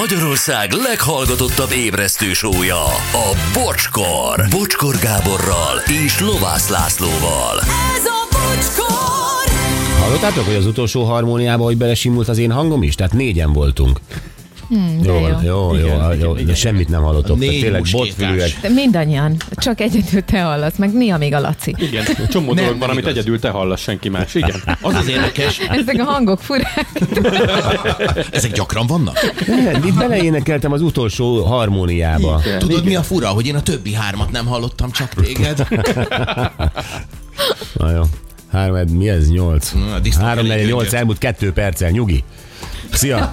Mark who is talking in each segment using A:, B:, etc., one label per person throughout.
A: Magyarország leghallgatottabb ébresztő sója, a Bocskor. Bocskor Gáborral és Lovász Lászlóval.
B: Ez a bocskor!
C: Hallottátok, hogy az utolsó harmóniába, hogy belesimult az én hangom is? Tehát négyen voltunk. Hmm, jó, jó, jó, jó, igen, jó. de semmit nem hallottok.
D: Négy
C: Tehát tényleg
D: muskétás.
C: botfülűek.
E: De mindannyian. Csak egyedül te hallasz, meg néha még a Laci.
F: Igen, csomó
D: Nem,
F: dolog van,
D: nem
F: amit
D: igaz.
F: egyedül te hallasz, senki más. Igen.
D: Az az érdekes,
E: Ezek a hangok furák.
D: ezek gyakran vannak.
C: Nem, Itt beleénekeltem az utolsó harmóniába.
D: Tudod, mi a fura, hogy én a többi hármat nem hallottam, csak téged?
C: Na jó. Három, ed- mi ez? Nyolc.
D: Na, a disznó
C: Három,
D: elég
C: negyed, nyolc,
D: gyöngyöt.
C: elmúlt kettő perccel. Nyugi. Szia.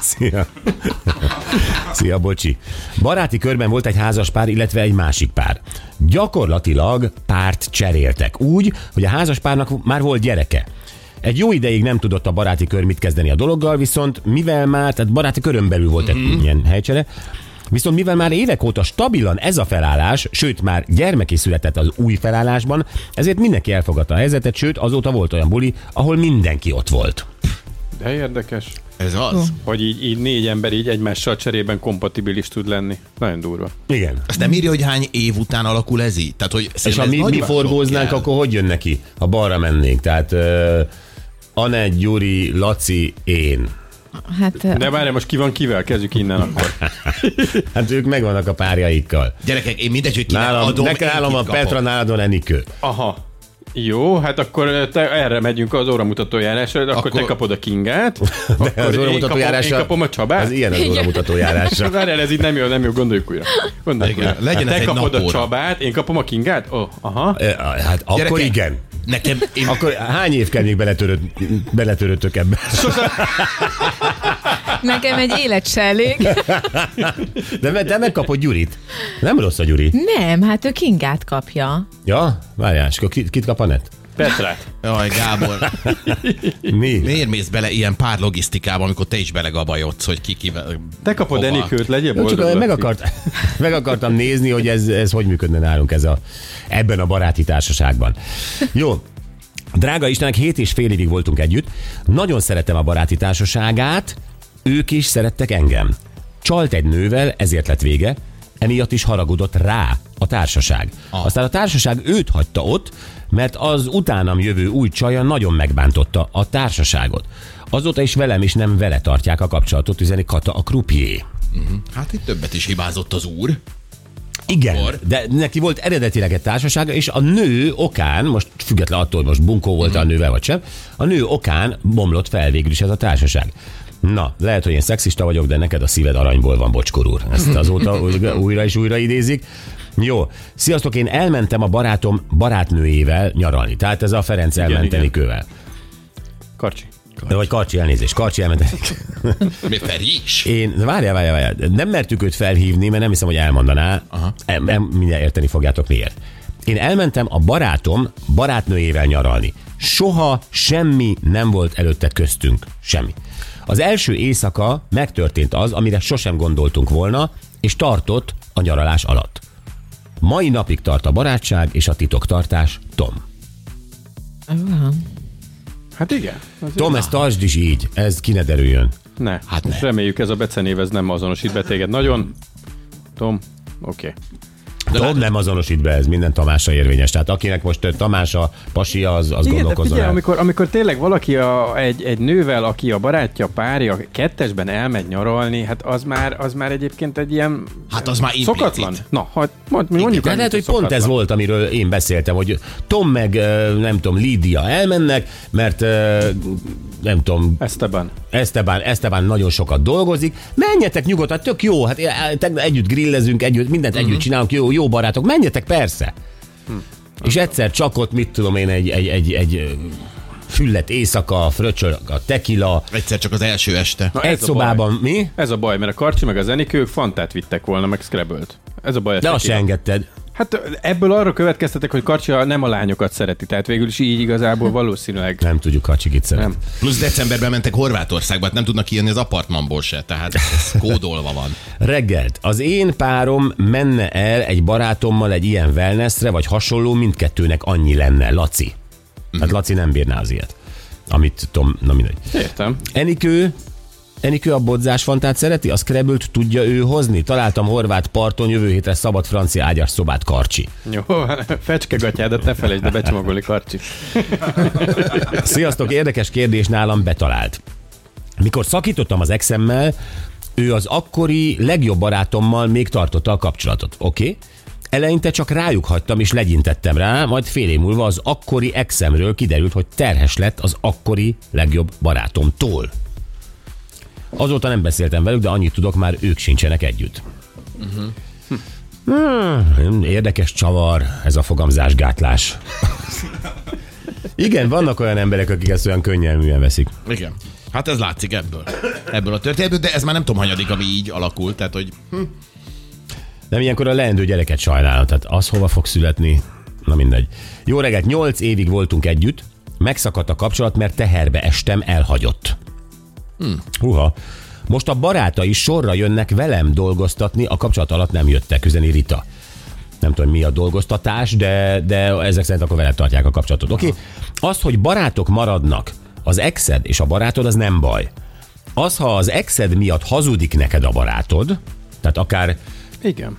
C: Szia. Szia, bocsi. Baráti körben volt egy házas pár, illetve egy másik pár. Gyakorlatilag párt cseréltek. Úgy, hogy a házas párnak már volt gyereke. Egy jó ideig nem tudott a baráti kör mit kezdeni a dologgal, viszont mivel már, tehát baráti körön belül volt egy ilyen helycsere, Viszont mivel már évek óta stabilan ez a felállás, sőt már gyermek is született az új felállásban, ezért mindenki elfogadta a helyzetet, sőt azóta volt olyan buli, ahol mindenki ott volt.
F: De érdekes,
D: Ez az.
F: hogy így, így négy ember így egymással cserében kompatibilis tud lenni. Nagyon durva.
C: Igen.
D: Azt nem írja, hogy hány év után alakul ez így? Tehát, hogy
C: És ha
D: szerintem ez
C: mi, mi
D: nagyon sok
C: forgóznánk,
D: kell.
C: akkor hogy jön neki, ha balra mennénk? Tehát uh, Anett, Gyuri, Laci, én.
E: Hát,
F: De várj, most ki van kivel? Kezdjük innen akkor.
C: Hát ők megvannak a párjaikkal.
D: Gyerekek, én mindegy, hogy kinek
C: Nálam,
D: adom,
C: Adom, nekem
D: én
C: nálam
D: kit
C: van
D: kapok.
C: Petra, nálad van Enikő.
F: Aha. Jó, hát akkor te, erre megyünk az óramutató járásra, akkor, akkor, te
D: Akkor-
F: kapod a Kingát, akkor
C: De az
F: én,
C: óramutató
F: kapom,
C: járása-
F: én kapom a Csabát.
C: Ez ilyen az óramutató járása.
F: Várjál, ez így nem jó, nem jó, gondoljuk újra. Gondoljuk
D: Igen,
F: újra.
D: legyen ez
F: te
D: egy
F: kapod a
D: napóra.
F: Csabát, én kapom a Kingát? Ó, oh, aha.
C: Ö, Hát akkor
D: Gyerekek,
C: igen.
D: Nekem, én,
C: Akkor hány év kell még beletöröd, beletörödtök ebbe?
E: nekem egy élet se elég.
C: De, me- de megkapod Gyurit. Nem rossz a Gyuri.
E: Nem, hát ő Kingát kapja.
C: Ja? Várjál, és akkor ki- kit kap a net?
F: Petrát.
D: jaj, Gábor,
C: Mi?
D: miért mész bele ilyen pár logisztikába, amikor te is belegabajodsz, hogy ki kivel...
F: Te kapod
D: hova?
F: Enikőt, legyél
C: Jó,
F: boldog.
C: csak meg,
F: Laci.
C: akart, meg akartam nézni, hogy ez, ez hogy működne nálunk ez a, ebben a baráti társaságban. Jó, drága Istenek, hét és fél évig voltunk együtt. Nagyon szerettem a baráti társaságát, ők is szerettek engem. Csalt egy nővel, ezért lett vége, emiatt is haragudott rá a társaság.
D: Ah.
C: Aztán a társaság őt hagyta ott, mert az utánam jövő új csaja nagyon megbántotta a társaságot. Azóta is velem is nem vele tartják a kapcsolatot, üzeni Kata a krupié.
D: Hát itt többet is hibázott az úr.
C: Igen,
D: Akkor-
C: de neki volt eredetileg egy társasága, és a nő okán, most független attól, hogy most bunkó volt
F: Mhm.
C: a nővel vagy sem, a nő okán bomlott fel végül is ez a társaság. Na, lehet, hogy én szexista vagyok, de neked a szíved aranyból van, bocskor úr. Ezt azóta újra és újra idézik. Jó, sziasztok, én elmentem a barátom barátnőjével nyaralni. Tehát ez a Ferenc elmenteni
F: igen.
C: kővel.
F: Karcsi.
C: De vagy Karcsi elnézést, Karcsi elmenteni.
D: Mi Feri is?
C: Én, várjál, várjál, várjál, nem mertük őt felhívni, mert nem hiszem, hogy elmondaná. Aha. Em, em, mindjárt érteni fogjátok miért. Én elmentem a barátom barátnőjével nyaralni. Soha semmi nem volt előtte köztünk. Semmi. Az első éjszaka megtörtént az, amire sosem gondoltunk volna, és tartott a nyaralás alatt. Mai napig tart a barátság és a titoktartás, Tom.
F: Hát igen. Az
C: Tom, ezt tartsd is így, ez ki ne derüljön.
F: Ne.
D: Hát
F: Hát
D: ne.
F: ne. Reméljük ez a becenév ez nem azonosít be téged. Nagyon. Tom, oké. Okay.
C: Tom nem azonosít be, ez minden Tamásra érvényes. Tehát akinek most ö, Tamás a pasia, az, az
F: Igen, de
C: gondolkozzon
F: figyelj,
C: el.
F: amikor, amikor tényleg valaki a, egy, egy nővel, aki a barátja, párja kettesben elmegy nyaralni, hát az már, az már egyébként egy ilyen
D: Hát az már implicit.
F: szokatlan. Na, hát mond, mi mondjuk.
C: De
F: annyit,
C: lehet, hogy pont ez
F: szokatlan.
C: volt, amiről én beszéltem, hogy Tom meg, ö, nem tudom, Lídia elmennek, mert ö, nem tudom,
F: Esteban.
C: Esteban, Esteban nagyon sokat dolgozik. Menjetek nyugodtan, tök jó, hát eh, tegnap együtt grillezünk, együtt, mindent
F: Mhm.
C: együtt csinálunk, jó, jó barátok, menjetek persze.
F: Hm.
C: És egyszer csak ott, mit tudom én, egy, egy, egy, egy ö, füllet éjszaka, fröcsöl a tekila,
D: Egyszer csak az első este.
F: Na,
C: egy
F: ez a baj.
C: szobában, mi?
F: Ez a baj, mert a Karcsi meg az Enikő ők fantát vittek volna, meg Scrabble-t. Ez a baj.
C: De
F: ezt
C: azt se
F: neki-
C: engedted.
F: Hát ebből arra következtetek, hogy Karcsi a- nem a lányokat szereti, tehát végül is így igazából valószínűleg
C: Nem tudjuk, ha csigit szeret.
F: nem.
D: Plusz decemberben mentek Horvátországba, hát nem tudnak kijönni az apartmanból se, tehát ez kódolva van.
C: Reggelt. Az én párom menne el egy barátommal egy ilyen wellnessre, vagy hasonló, mindkettőnek annyi lenne. Laci. Hát Laci nem bírná az ilyet. Amit Tom, na mindegy.
F: Értem.
C: Enikő Enikő a bodzás fantát szereti, az krebült tudja ő hozni. Találtam horvát parton, jövő hétre szabad francia ágyas szobát karcsi.
F: Jó, fecskegatyádat ne felejtsd, de becsomagolni karcsi.
C: Sziasztok, érdekes kérdés nálam betalált. Mikor szakítottam az exemmel, ő az akkori legjobb barátommal még tartotta a kapcsolatot, oké? Okay? Eleinte csak rájuk hagytam és legyintettem rá, majd fél év múlva az akkori exemről kiderült, hogy terhes lett az akkori legjobb barátomtól. Azóta nem beszéltem velük, de annyit tudok, már ők sincsenek együtt. Hmm, érdekes csavar ez a fogamzásgátlás. Igen, vannak olyan emberek, akik ezt olyan könnyelműen veszik.
D: Igen. Hát ez látszik ebből. Ebből a történetből, de ez már nem tudom hanyadik, ami így alakult, tehát hogy
C: Nem ilyenkor a leendő gyereket sajnálom, tehát az hova fog születni, na mindegy. Jó reggelt, 8 évig voltunk együtt, megszakadt a kapcsolat, mert teherbe estem, elhagyott. Hmm. Huha. Most a barátai sorra jönnek velem dolgoztatni, a kapcsolat alatt nem jöttek, üzeni Rita. Nem tudom, mi a dolgoztatás, de, de ezek szerint akkor veled tartják a kapcsolatot. Oké? Okay? Az, hogy barátok maradnak, az exed és a barátod, az nem baj. Az, ha az exed miatt hazudik neked a barátod, tehát akár
F: Igen.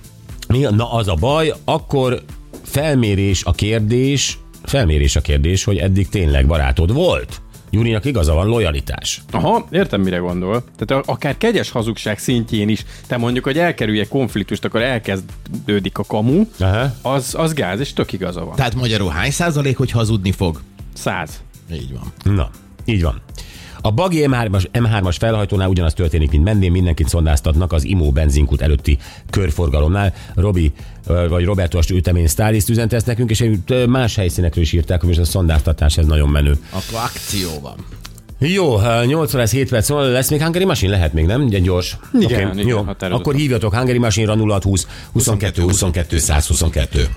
C: mi, na az a baj, akkor felmérés a kérdés, felmérés a kérdés, hogy eddig tényleg barátod volt. Júrinak igaza van, lojalitás.
F: Aha, értem, mire gondol. Tehát a- akár kegyes hazugság szintjén is, te mondjuk, hogy elkerülje konfliktust, akkor elkezdődik a kamu,
C: Aha.
F: az, az gáz, és tök igaza van.
D: Tehát magyarul hány százalék, hogy hazudni fog?
F: Száz.
D: Így van.
C: Na, így van. A Bagi M3-as, M3-as felhajtónál ugyanaz történik, mint menném, mindenkit szondáztatnak az Imó benzinkút előtti körforgalomnál. Robi ö, vagy Roberto azt ütemény sztáliszt üzente ezt nekünk, és egy- ö, más helyszínekről is írták, hogy most a szondáztatás ez nagyon menő.
D: Akkor akció van.
C: Jó, ö, 8 óra ez 7 perc, szóval lesz még Hungary Machine? Lehet még, nem? Ugye gyors.
F: Igen,
C: Oké,
F: igen,
C: jó.
F: határozottan.
C: Akkor hívjatok Hungary Machine-ra 0620 22 22 122.